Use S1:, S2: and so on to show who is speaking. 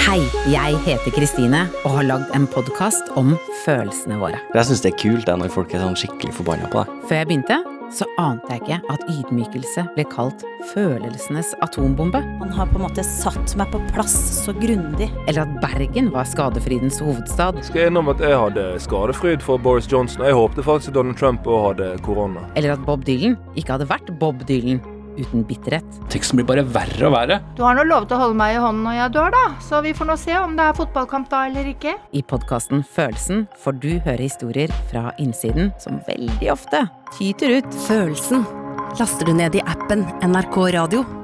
S1: Hei, jeg heter Kristine og har lagd en podkast om følelsene våre.
S2: Jeg syns det er kult det når folk er sånn skikkelig forbanna på deg.
S1: Før jeg begynte, så ante jeg ikke at ydmykelse ble kalt følelsenes atombombe,
S3: Han har på en måte satt meg på plass så grundig.
S1: eller at Bergen var skadefrydens hovedstad,
S4: skal jeg innrømme at jeg hadde skadefryd for Boris Johnson. og Jeg håpte faktisk at Donald Trump òg hadde korona.
S1: eller at Bob Dylan ikke hadde vært Bob Dylan uten bitterhet.
S5: Teksten blir bare verre og verre.
S6: Du har nå lovet å holde meg i hånden når jeg dør, da, så vi får nå se om det er fotballkamp da eller ikke.
S1: I podkasten Følelsen får du høre historier fra innsiden som veldig ofte tyter ut.
S7: Følelsen laster du ned i appen NRK Radio.